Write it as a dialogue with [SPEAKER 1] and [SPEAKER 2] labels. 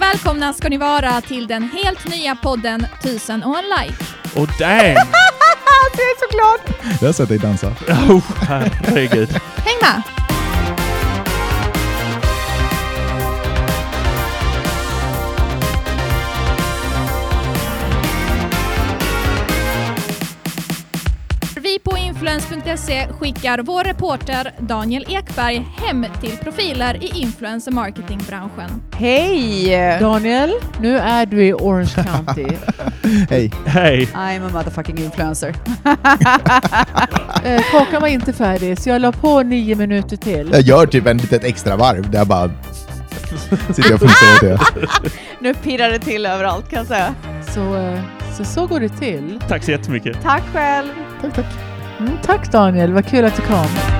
[SPEAKER 1] välkomna ska ni vara till den helt nya podden Tusen och en like.
[SPEAKER 2] Och damn!
[SPEAKER 1] Jag är så glad!
[SPEAKER 3] Jag har sett dig dansa.
[SPEAKER 2] Oh, herregud.
[SPEAKER 1] Häng med! Vi på influence.se skickar vår reporter Daniel Ekberg hem till profiler i influencer marketingbranschen.
[SPEAKER 4] Hej!
[SPEAKER 5] Daniel, nu är du i Orange County.
[SPEAKER 3] Hej.
[SPEAKER 2] Hej.
[SPEAKER 4] I'm a motherfucking influencer.
[SPEAKER 5] eh, kakan var inte färdig, så jag la på nio minuter till.
[SPEAKER 3] Jag gör typ en litet extra varv där jag bara sitter och fnissar åt det.
[SPEAKER 4] Nu pirrar det till överallt kan jag säga.
[SPEAKER 5] Så, eh, så, så går det till.
[SPEAKER 2] Tack så jättemycket.
[SPEAKER 4] Tack själv!
[SPEAKER 5] Mm, tack Daniel, vad kul att du kom.